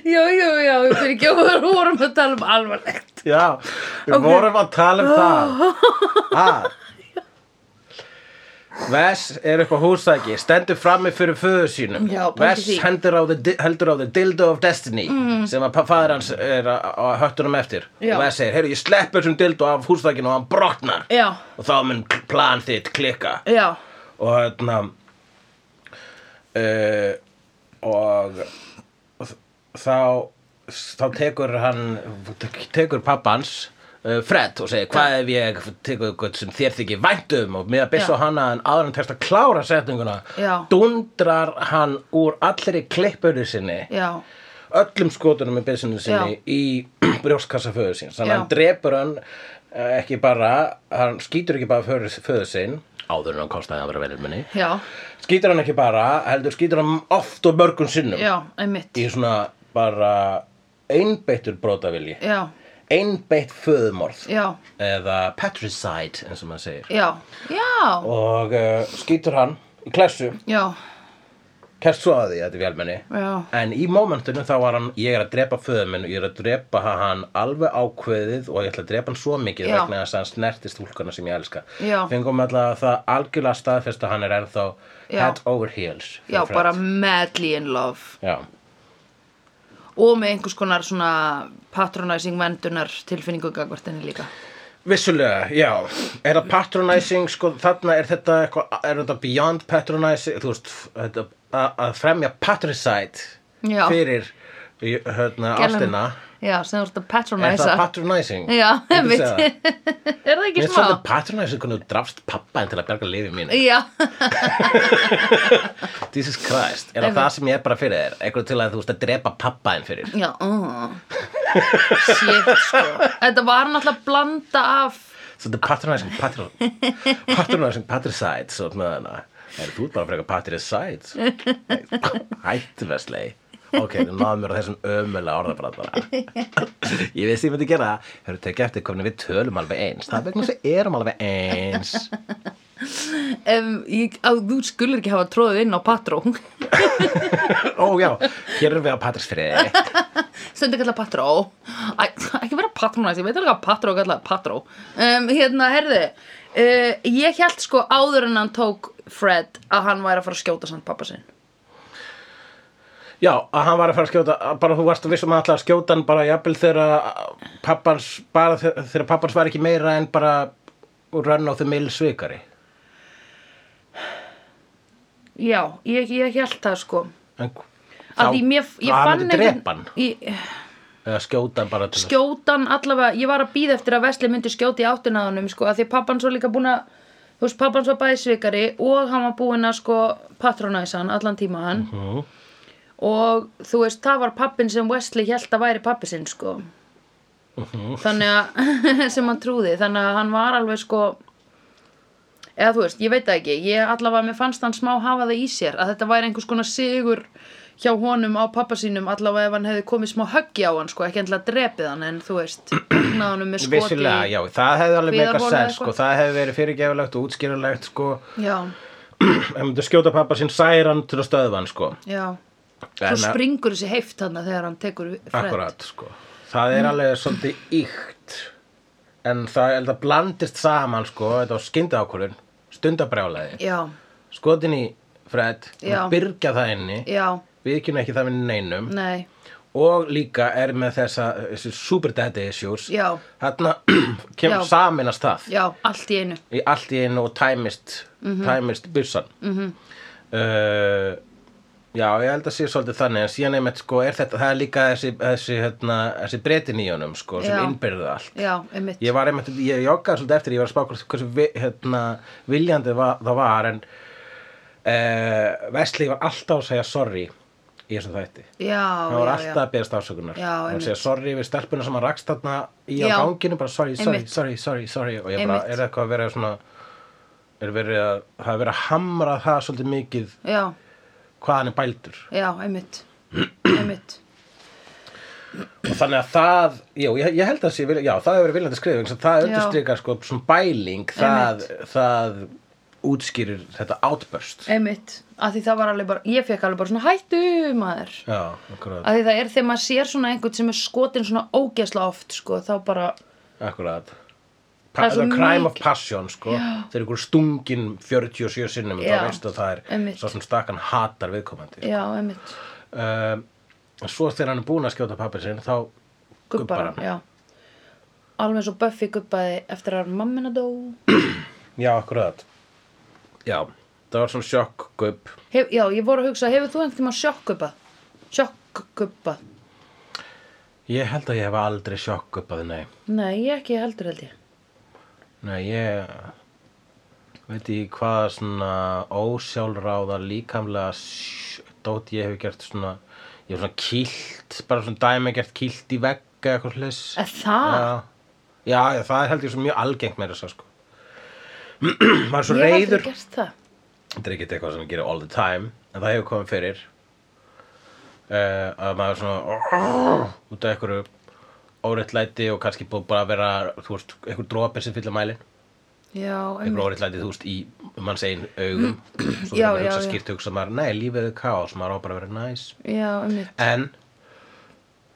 Jú, jú, já, við fyrir ekki að við vorum að tala um alvarlegt. Já, við Ok. vorum að tala um það að Vess er upp á húsæki, stendur frammi fyrir föðu sínum Já, pældi Vess því. Mm. hendur á, the, di- heldur á the dildo of destiny sem að fæður hans er á á höttunum eftir Já. og Vess segir, heyrðu ég slepp þessum dildo af húsækinu og hann brotnar Já, og þá mun plan þitt klikka já, og hérna uh, og þ- þá þá tekur hann tekur pappans uh, Fred og segir hvað ef ég tekur eitthvað sem þér þykir væntum og með að Já. byssa á hana en áður en tekst að klára setninguna Já. dundrar hann úr allri klippurðu sinni já, öllum skotunum með byssunum sinni Já. í brjóstkassa föður síns þannig Já. að hann drepur hann eh, ekki bara, hann skýtur ekki bara föður, föður sinn áður en hann kostaði að vera velminni já, skýtur hann ekki bara, heldur skýtur hann oft og mörgum sinnum já, einmitt. í svona bara einbeittur brotavilji Já, einbeitt föðumorð já, eða patricide eins og maður segir já, já, og uh, skýtur hann í klessu já, kerst svo að því að þetta er velmenni já, En í mómentinu þá var hann, ég er að drepa föður minn og ég er að drepa hann alveg ákveðið og ég ætla að drepa hann svo mikið Já. vegna þess að hann snertist húlkana sem ég elska. Já. Fengum alltaf að það algjörlega staðfest að hann er ennþá Já. head over heels. já, fyrir Fred. bara madly in love. Já, Og með einhvers konar svona patronizing vendunar tilfinningu gagvartinni líka. vissulega, já. Er það patronizing, sko, þarna er þetta eitthvað, er þetta beyond patronizing, þú veist, þetta, að, að fremja patricide Já. fyrir, í- hérna, ástina. Já, sem þú ert að Er það patroniza. patronizing? Já, Ég myndi einmitt. segja það. er það ekki Mér er svolítið smá? patronizing hvernig þú drafst pappa en til að berga lífið mínu. Já, Jesus Christ, er það það sem ég er bara fyrir þér? Eitthvað til að þú veist að drepa pappa en fyrir. já, uh. Shit, sko. Þetta var náttúrulega blanda af Svolítið patronizing, patron, patronizing, patricide, svona þarna. Er þú ert bara frekar patricide? Hættu veslei. Ok, þú náðum mér á þessum ömulega orðabræð bara. Ég veist ég myndi gera það. Hörru, tekið eftir hvernig við tölum alveg eins. Það er vegna þess að við erum alveg eins. Um, ég, á, þú skulur ekki hafa tróðið inn á patró Ó já, hér erum við á patrisfriði. Stundu kallað patró Æ, Ekki vera patrónæs, ég veit alveg að patró kallað patró um, Hérna, herði uh, Ég held sko áður en hann tók Fred að hann væri að fara að skjóta samt pappa sinn Já, að hann var að fara að skjóta, að bara þú varst um að vissum að ætla að skjóta hann bara jafnvel þegar pappans, bara þe- þegar pappans var ekki meira en bara run of the mill svikari. Já, ég, ég held það sko En, Að því mér, ég að fann hann myndi drepa hann, ég, eða skjóta hann bara til þess. skjótan allavega, ég var að býða eftir að Vesli myndi skjóti áttina að honum sko, að því pappan svo líka búin að þú veist, pappan svo bæði svikari og hann var búin að sko patronæsa hann allan tíma hann Mhm. og þú veist, það var pappin sem Wesley held að væri pappi sinn sko þannig að sem hann trúði, þannig að hann var alveg sko eða þú veist, ég veit það ekki, ég allavega mér fannst hann smá hafa það í sér að þetta væri einhvers konar sigur hjá honum á pappa sínum allavega ef hann hefði komið smá höggi á hann sko, ekki endilega drepið hann en þú veist, náðunum með skoti Vissilega, já, það hefði alveg meika viðarvol eða sens, sko, eitthvað. það hefði verið fyrirgefilegt og útskýrulegt, sko, já, ef myndi skjóta pappa sinn særa hann til að stöðva hann, sko. já. En svo eh, að- springur þessi heift hann þegar hann tekur fred Akkurat, sko. Það er alveg svolítið íkt, en það, en það blandist saman, sko, þetta var skyndi ákvörðun, stundabrjálaði, já, skotin í Fred, Já. byrgja það inni, já, Mm. við ekki ekki það við neinum nei, og líka er með þessa, þessi super daddy issues Já. þarna Já. kemur saminast það já, allt í einu í allt í einu og tæmist Mhm. tæmist byssan -hmm. uh, já, ég held að sé svolítið þannig en síðan einmitt sko er þetta það er líka þessi, þessi, hérna, þessi breytin í honum sko, sem Já. innbyrðu allt já, einmitt ég var einmitt, ég joggaði svolítið eftir ég var að spá hvort- hversu vi- hérna, viljandi va, það var en uh, Vesli var alltaf að segja sorry í þessum þætti já, hann var já, alltaf að beðast afsökunar Já, hann einmitt. segja sorry við stelpuna sem hann rakst þarna í á Já. ganginu bara sorry, sorry, Einmitt. sorry, sorry, sorry og ég bara, Einmitt. er eitthvað að vera svona er verið að, það er verið að hamra það svolítið mikið já, já, hvað hann er bældur já, einmitt einmitt, og þannig að það, jú, ég, ég held að sé vilja- já, það hefur verið viljandi skrifing sem það Já. undirstrykar sko, svona bæling það, það útskýrir þetta outburst einmitt að því það var alveg bara, ég fekk alveg bara svona hættu maður já, akkurat, að því það er þegar maður sér svona einhvern sem er skotin svona ógeðsla oft sko, þá bara, akkurat Það Pa, er það svo er crime of mikið- passion sko. þegar ykkur stungin 47 sinnum Já, þá veistu að það er einmitt. svo sem stakan hatar viðkomandi já, einmitt um, svo þegar hann er búinn að skjóta pappi sinn þá gubbar hann, já alveg eins og Buffy gubbaði eftir að mammina dó já, akkurat já, það var svona sjokk gubb Hef, já, ég voru að hugsa, hefur þú einhvern tímann sjokkgubbað? Sjokkgubbað? ég held að ég hef aldrei sjokk gubbað nei, Nei, ég ekki heldur held ég nei, ég veit ég hvað svona ósjálfráða líkamlega sj- dót ég hef gert svona ég hef svona kýlt, bara svona dæmi gert kýlt í vegg eða eitthvað slags Er það? já, já, já, það er held ég svo mjög algengt meira þess að segja, sko maður er svo Ég hef reyður aldrei gert það þetta er ekkert eitthvað sem ég gerir all the time en það hefur komið fyrir uh, að maður er svona út af einhverju óréttlæti og kannski búið bara að vera þú veist, einhver dropir sem fylla mælin Já, einhver einmitt óréttlæti, þú veist, í manns einn augum svo Já, þegar maður já, hugsa já. skýrt hugsa maður, nei, lífið er kaos maður á bara að vera næs Já, einmitt en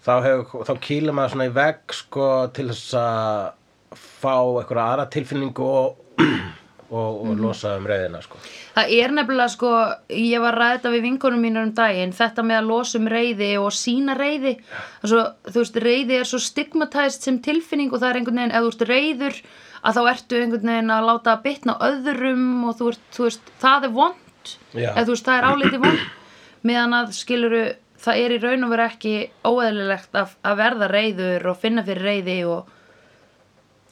þá, hefur, þá kýlum maður svona í vegg sko, til þess að fá einhverja aðra tilfinningu og, og, og Mhm. losa um reyðina sko. Það er nefnilega sko, ég var ræðið við vinkonum mínur um daginn, þetta með að losa um reyði og sína reyði. Svo, þú veist, reyði er svo stigmatæst sem tilfinning og það er einhvern veginn, ef þú ert reyður, að þá ertu einhvern veginn að láta að bitna á öðrum og þú, ert, þú veist, það er vond, Já. eða þú veist, það er álítið vond, meðan að skiluru, það er í raun og vera ekki óeðlilegt að, að verða reyður og finna fyrir reyði og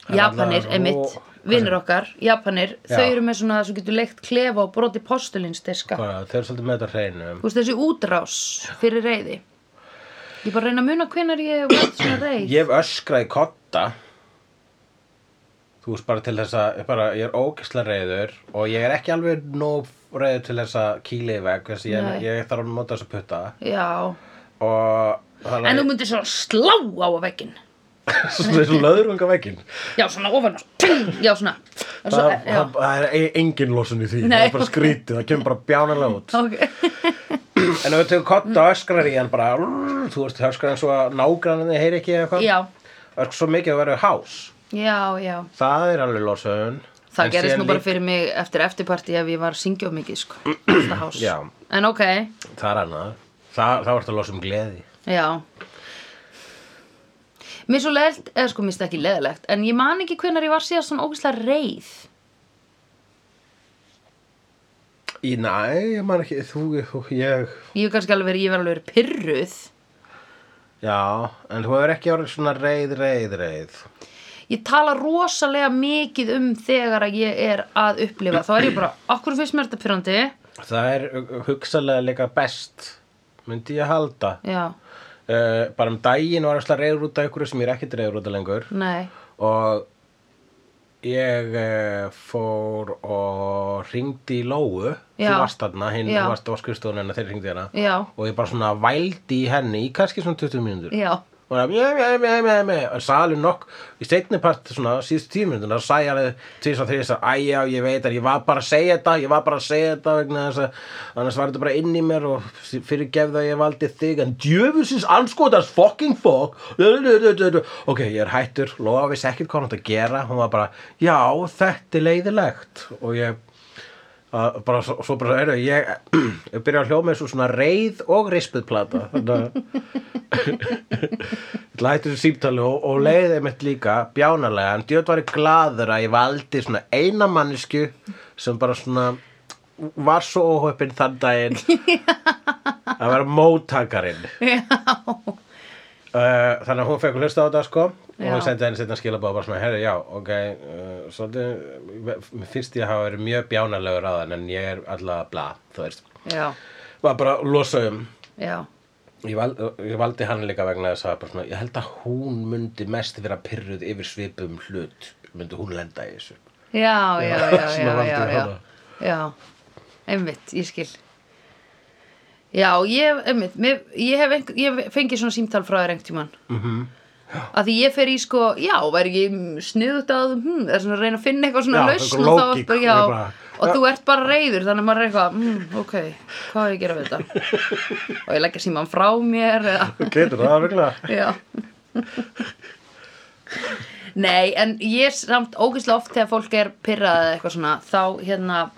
Það er Japanir, allavega ró- emitt, hvað vinnir okkar, Japanir, Já. þau eru með svona sem getur leikt klefa og broti postulinsdiska. Bara, Sko, þau eru svolítið með þetta á hreinu Þú veist þessi útrás fyrir reyði. Ég bara reyna að muna hvenar ég hef verið svona reyð. Ég hef öskrað í kotta Þú veist bara til þess að bara, ég er ókesslega reyður og ég er ekki alveg nóg reyður til þess að kýla í vegg þess að ég, Nei. ég þarf að nota þess að putta Já, og þannig en þú myndir svona slá á að veggin svona þessu löðrunga vegginn já svona ofan á já svona. En það, Svo, já, það, það er e- engin losun í því Nei, það er bara ok. skrítið, það kemur bara bjánalega út ok. en ef við tökum kotta og öskrar í hann bara þú veist öskrar eins og að nágranninni heyri ekki eða Já, eitthvað öskrar svo mikið að vera hás já, já. það er alveg losun En Það gerist síðan nú bara líka- fyrir mig eftir eftirparti ef ég var að syngja of mikið, sko. Alltaf hás. Já. En ok, Það er annað. Það, það var þetta að losa um gleði. já. Mér er svo leðilt, eða sko, mér er ekki leðilegt, en ég man ekki hvenar ég var síðast svona ógeðslega reyð. Í, næ, ég man ekki, þú, þú, ég... Ég hef kannski alveg verið, ég var alveg verið pyrruð. Já, en þú hefur ekki orðið svona reið, reið, reið. Ég tala rosalega mikið um þegar að ég er að upplifa. Þá er ég bara, okkur finnst mér þetta pyrrandi. Það er hugsalega líka best, myndi ég halda. Já, Uh, bara um daginn var alltaf reiður út af ykkur sem ég er ekkert reiður út af lengur. nei, Og ég uh, fór og ringdi í Lóu, þú Já. varst þarna, hinn Já. þú varst á skrifstofunni hennar, þeir ringdi hérna. já, Og ég bara svona vældi í henni í kannski svona 20 mínútur. já, og það mjö, mjö, mjö, mjö, mjö og salu nokk í seinni part svona síðust tímynduna og sæja alveg tvís og þrís að æja og ég veit að ég var bara að segja þetta ég var bara að segja þetta vegna þess að annars var þetta bara inn í mér og fyrir gefðu að ég valdi þig en djöfusins anskotans fucking fuck ok, ég er hættur Lóa vissi ekkert hvað hann átti að gera hún var bara, já, þetta er leiðilegt og ég að bara, svo, svo bara, heyrðu, ég, ég byrja að hljóma eins og svona reið og rispuð plata þannig að lættu þessu símtali og, og leiði mitt líka bjánalega en djöð var ég gladur að ég valdi svona eina mannesku sem bara svona var svo óhöppin þann daginn að vera móttakarinn Uh, þannig að hún fekk að hlusta á þetta sko og hún sendi henni setna skilabóð bara svona herri já, ok, uh, svolítið mér finnst ég að hafa verið mjög bjánalegur á þann en ég er alltaf bla, þú veist já, var bara að losa um já, ég, val, ég valdi hann líka vegna þess að bara svona, ég held að hún myndi mest vera pyrruð yfir svipum hlut myndi hún lenda í þessu já, já, já, Svona já, valdi já, ég já, hana. já, einmitt, ég skil. Já, ég, einmitt, mér, ég hef, einhver, ég hef fengið svona símtal frá þér einhvern tímann. Mm Mhm. -hmm. Að því ég fer í sko, já, væri ekki sniðut að, hm, er svona að reyna að finna eitthvað svona Já, lausn einhver og þá lógík, bara, ég já, bara- og þú ert bara reyður, þannig að maður er eitthvað, hm, ok, hvað er ég að gera við þetta? og ég leggja síman frá mér eða... getur það vegna Já Nei, en ég er samt ógeðslega oft þegar fólk er pyrrað eða eitthvað svona þá hérna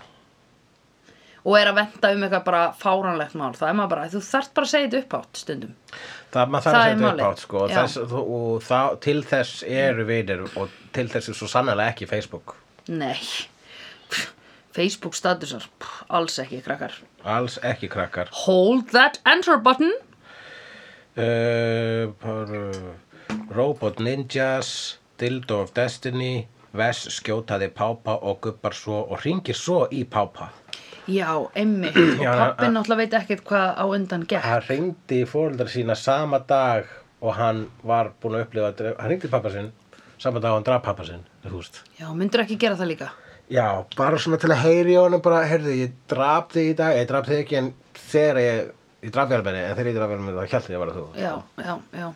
og er að venda um eitthvað bara fáranlegt mál þá er maður bara, þú þarft bara að segja þetta upphátt stundum Það, maður þarf Það að er setja upp málið. átt sko og, Já. þess, og, og það, til þess eru vinir og til þess er svo sannlega ekki Facebook Nei Pff, Facebook statusar, pff, alls ekki krakkar alls ekki krakkar Hold that enter button Uh, bara, Robot Ninjas, Dildo of Destiny, Vess skjótaði Pápa og gubbar svo og ringir svo í Pápa. Já, emmi og Já, pappi a- náttúrulega veit ekkert hvað á undan gekk Hann ringdi í fóreldra sína sama dag og hann var búin að upplifa, að dre- hann ringdi í pappa sinn, sama dag og hann draf pappa sinn, þú veist. Já, myndur ekki gera það líka Já, bara svona til að heyri í honum bara, heyrðu, ég draf þig í dag, ég draf þig ekki en þegar ég, ég draf þig alveg henni, en þegar ég draf þig alveg henni þá hjælti ég að vera þú. Já, já, já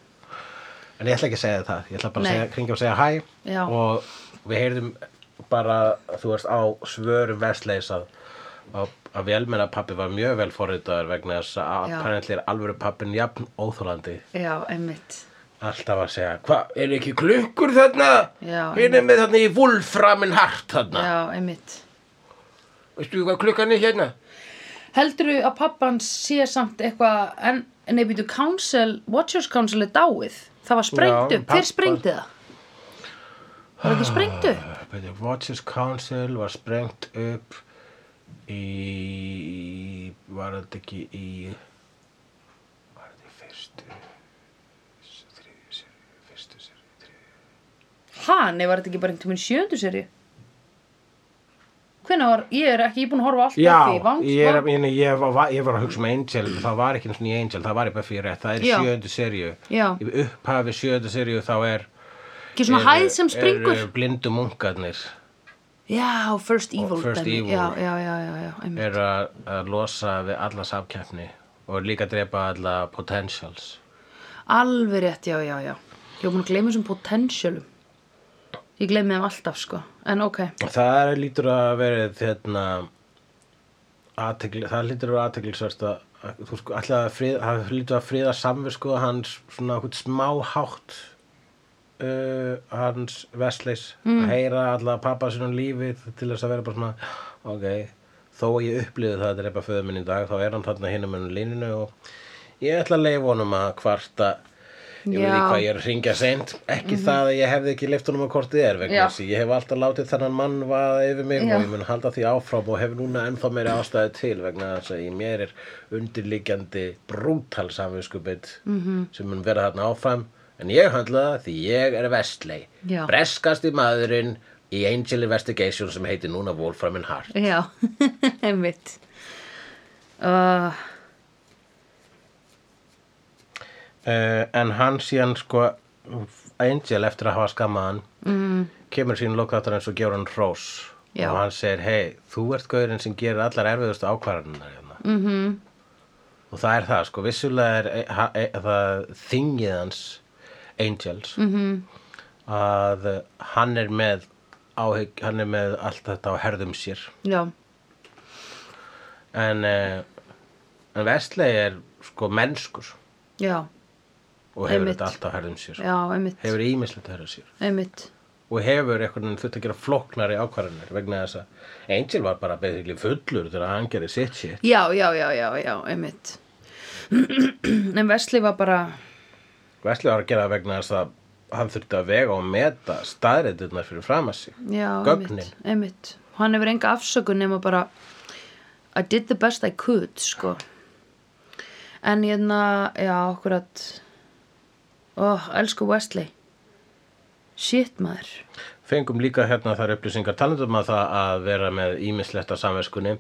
En ég ætla ekki að segja það, ég ætla bara Nei. að segja, kringja og segja hæ Já. og við heyrðum bara, þú veist, á svörum versleis að, að, að velmenna pappi var mjög vel forritaður vegna þess að Já. apparently er alvöru pappin jafn óþólandi. Já, einmitt Alltaf að segja, hvað, er ekki klukkur þarna? Já, Hinn er með þarna í Wolframin Hart þarna. Já, einmitt Veistu hvað klukkan er hérna? Heldur að pappan sé samt eitthvað en, Nei, býtu, council, Watchers Council er dáið Það var sprengt Já, upp, hver pabba- sprengdi það? Var ekki sprengt upp? Bæði, Uh, Watchers Council var sprengt upp í, var þetta ekki í, var þetta í fyrstu, þriðju serið, fyrstu serið, þriðju. Ha, nei, var þetta ekki bara einhvern tímann í sjöndu seri? Hvenær var, ég er ekki, ég er búin að horfa á allt eftir, Já, vang, sko. ég, er, ég, ég, var, ég var að hugsa um Angel, það var ekki eins og í Angel, það var í Buffy rétt, það er í Já. sjöndu serju. Já. Í upphafi sjöndu serju þá er, Ekki svona eru- hæð sem springur Eru blindu munkarnir, Já, First Evil eh, oh, First dæmi. Evil. Já, já, já, já, já, einmitt eru að, að losa við alla samkeppni og líka drepa alla potentials. Alveg rétt, já, já, já Ég er búin að gleyma þessum potentialum Ég gleymi þeim alltaf, sko En ok, Það er lítur að vera hérna athygli, það lítur að vera athyglisvert að að- þú sko alltaf að frið, það lítur að friða samvisku hans svona hvort smáhátt uh, hans vesleis að heyra alltaf pappa sinum lífi til þess að vera bara svona ok, þó að ég upplýði það að drepa föður minn í dag þá er hann þarna hinum minn líninu og ég ætla að leifa honum að kvarta Ég veit Já. ekki hvað ég er að ringja seint Ekki það að ég hefði ekki leift honum að kortið er vegna Mhm. Já. þess að ég hef alltaf látið þennan mann vaða yfir mig Já. og ég mun halda því áfram og hef núna ennþá meiri ástæði til vegna þess að í mér er undirliggjandi brútal samvinskupið -hmm. Mhm. sem mun vera þarna áfram en ég höndla það því ég er vestlei Já. breskasti maðurinn í Angel Investigation sem heitir núna Wolfram and Heart Já, einmitt. Uh, uh, en hann síðan sko Angel eftir að hafa skammað hann mm. kemur sín lokáttur eins og gefur hann hrós Já. og hann segir hei, þú ert gaurinn sem gerir allar erfiðustu ákvarðanar hérna. mm Mhm. -hmm. og það er það sko vissulega er e, ha, e, það þingið hans Angels mm Mhm. -hmm. að eh, hann er með áhygg, hann er með allt þetta á herðum sér já, en, uh, en Vestlei er sko mennskur já, og hefur Einmitt. þetta allt á herðum sér já, einmitt, hefur ímislegt að herða sér einmitt. og hefur einhvern veginn þurft að gera flóknari ákvarðanir vegna þess að Angel var bara basically fullur þegar hann gerði sitt shit já, já, já, já, já, einmitt en Vesli var bara Vesli var að gera það vegna þess að hann þurfti að vega og meta staðreitirnar fyrir fram að sig já, gögnin einmitt, einmitt hann hefur enga afsökun nema bara I did the best I could, sko en hérna já, akkurat ó, elsku Wesley shit maður fengum líka hérna þar upplýsingar talandum að það að vera með ímislegt af samverskunni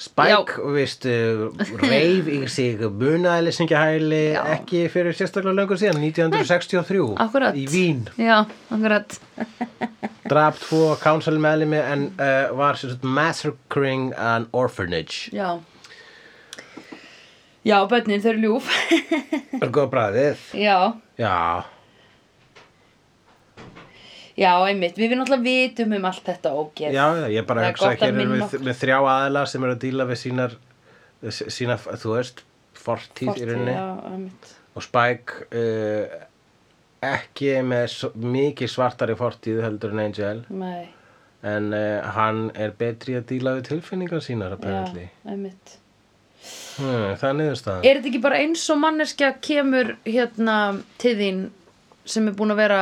Spike, Já. veist, reif í sig munaðlýsingjahæli ekki fyrir sérstaklega löngu síðan 1963 akkurat í Vín já, akkurat draf tvo council meðlimi en uh, var sérstaklega massacring an orphanage já já, bönnin þau eru ljúf er góð bræðið já Já, Já, einmitt, við við náttúrulega vitum um allt þetta ógeð. já, já, ég bara Það er hugsa gott að að hér erum minna við, okkur. við þrjá aðila sem eru að díla við sínar, sína, þú veist, fortíð, í rauninni Já, einmitt. og Spike uh, ekki með s- mikið svartari fortíð heldur en Angel Nei, en uh, hann er betri að díla við tilfinningar sínar apparently já, einmitt. hmm, það er niðurstaðan Er þetta ekki bara eins og manneskja kemur hérna til þín sem er búin að vera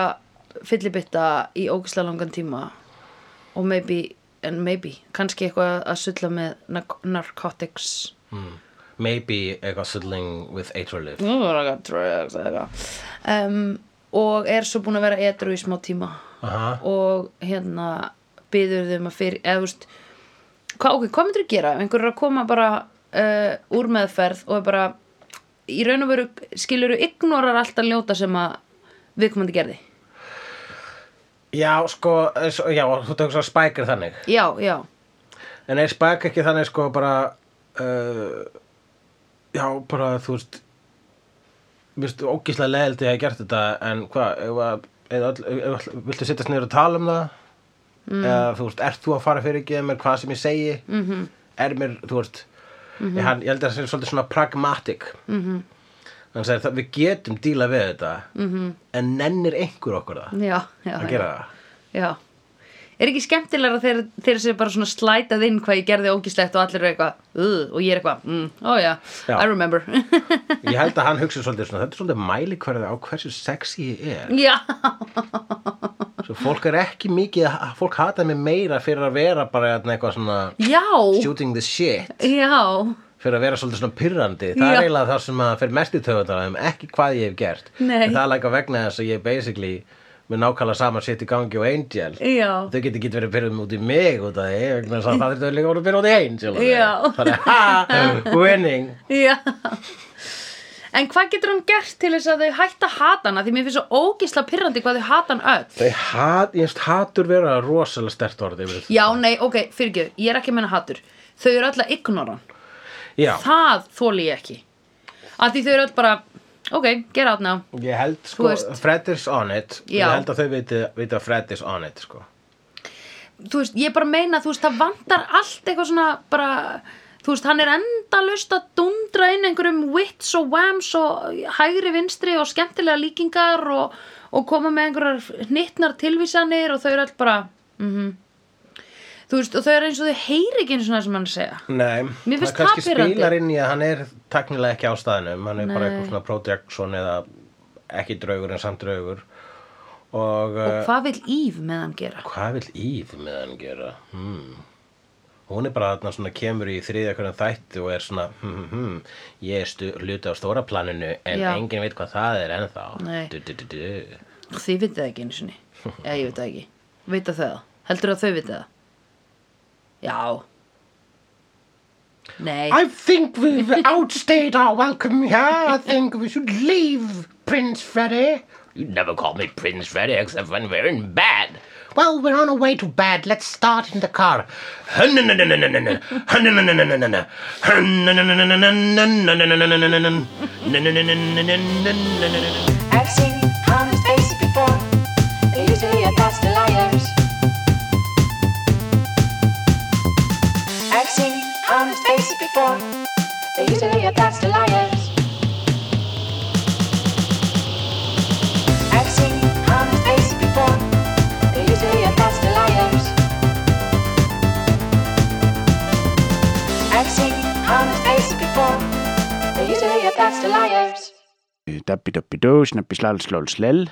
fyllibitta í ógislega langan tíma og maybe, and maybe, kannski eitthvað að sulla með nar- narcotics. hmm. maybe eitthvað suddling with atrolif Nú var það drugs eða eitthvað. Um, og er svo búin að vera edru í smá tíma. aha og hérna byður þeim að fyrir eða þú veist hva, ok, hvað myndir að gera ef einhver er að koma bara uh, úr meðferð og er bara í raun og veru skilur þú ignorar alltaf ljóta sem að viðkomandi gerði Já, sko, eh, s- já, þú tekur svo Spike er þannig já, já, En er Spike ekki þannig sko bara uh, Já, bara þú veist Mér veist, ógíslega leðildi að ég hef gert þetta En hvað, ef að- ef öll- ef öll- viltu sittast niður og tala um það Eða þú veist, ert þú að fara fyrir ekki mér hvað sem ég segi -hmm. Er mér, þú veist ég, hann, ég held að það sé svolítið svona pragmatic mm -hmm. Þannig að það- við getum díla við þetta -hmm. En nennir einhver okkur það já, já, Að já, gera það já. er ekki skemmtilega þegar þeir séu bara svona slætað inn hvað ég gerði ógislegt og allir eru eitthvað uh, og ég er eitthvað, mm, ó já, Já. I remember Ég held að hann hugsi svolítið svona, þetta er svolítið mælikvarði á hversu sexy ég er. já, Svo fólk er ekki mikið, fólk hatar mig meira fyrir að vera bara hérna eitthvað svona já shooting the shit, já, fyrir að vera svolítið svona pyrrandi. Það Já. er eiginlega það sem að fyrir mest í töfundar aðeim, ekki hvað ég hef gert. Nei. En það er læka vegna þess að ég er basically með nákvæmlega sama shit í gangi og Angel. já Þau getur ekki verið pyrrum út í mig út af því, vegna þess að það þurftu líka að vera pyrrum út í Angel. af því. Já. Þannig, ha, winning. Já. En hvað getur hann gert til þess að þau hætta að hata hana? Því mér finnst svo ógisla pyrrandi hvað þau hata hann öll. Þau hat, ég finnst hatur vera rosalega stert orðið yfir þetta. Já, nei, ok, fyrirgjöf, ég er ekki að menna hatur. Þau eru öll að ignora hann. Já. Það þóli ég ekki. Af því þau eru öll bara, ok, get out now. Ég held sko, veist. Fred is on it Ég Já. held að þau viti, viti að Fred is on it sko. Þú veist, ég bara meina, þú veist, það vantar allt eitthvað svona bara... Þú veist, hann er endalaust að dundra inn einhverjum wits og whams og hægri vinstri og skemmtilega líkingar og, og koma með einhverjar hnittnar tilvísanir og þau eru all bara, mhm. þú veist, og þau eru eins og þau heyri ekki eins og það sem hann er að segja Nei, Mér finnst það kannski það pirrandi. spilar inn í að hann er taknilega ekki á staðnum hann er bara Nei. eitthvað svona projection eða ekki draugur en samt draugur og, og og hvað vil Ív með hann gera hvað vil Íð með hann gera? Hmm. Hún er bara þarna svona kemur í þriðja hverjum þætti og er svona hm, hm, hm, ég er stu, hluti á stóra planinu en Já. enginn veit hvað það er ennþá Nei. du, du, du, du. þið vitið það ekki eins og já, ég veit það ekki, veit það það heldur að þau vitið það já nei, I think we've outstayed our welcome here. I think we should leave, Prince Freddy. You never call me Prince Freddy except when we're in bed. Well, we're on our way to bed. Let's start in the car. I've seen honest faces before. They're usually a pass to liars. I've seen honest faces before. They're usually a pass to liars. I've seen honest faces before. Dabbi dabbi dó, snabbi slal slól slel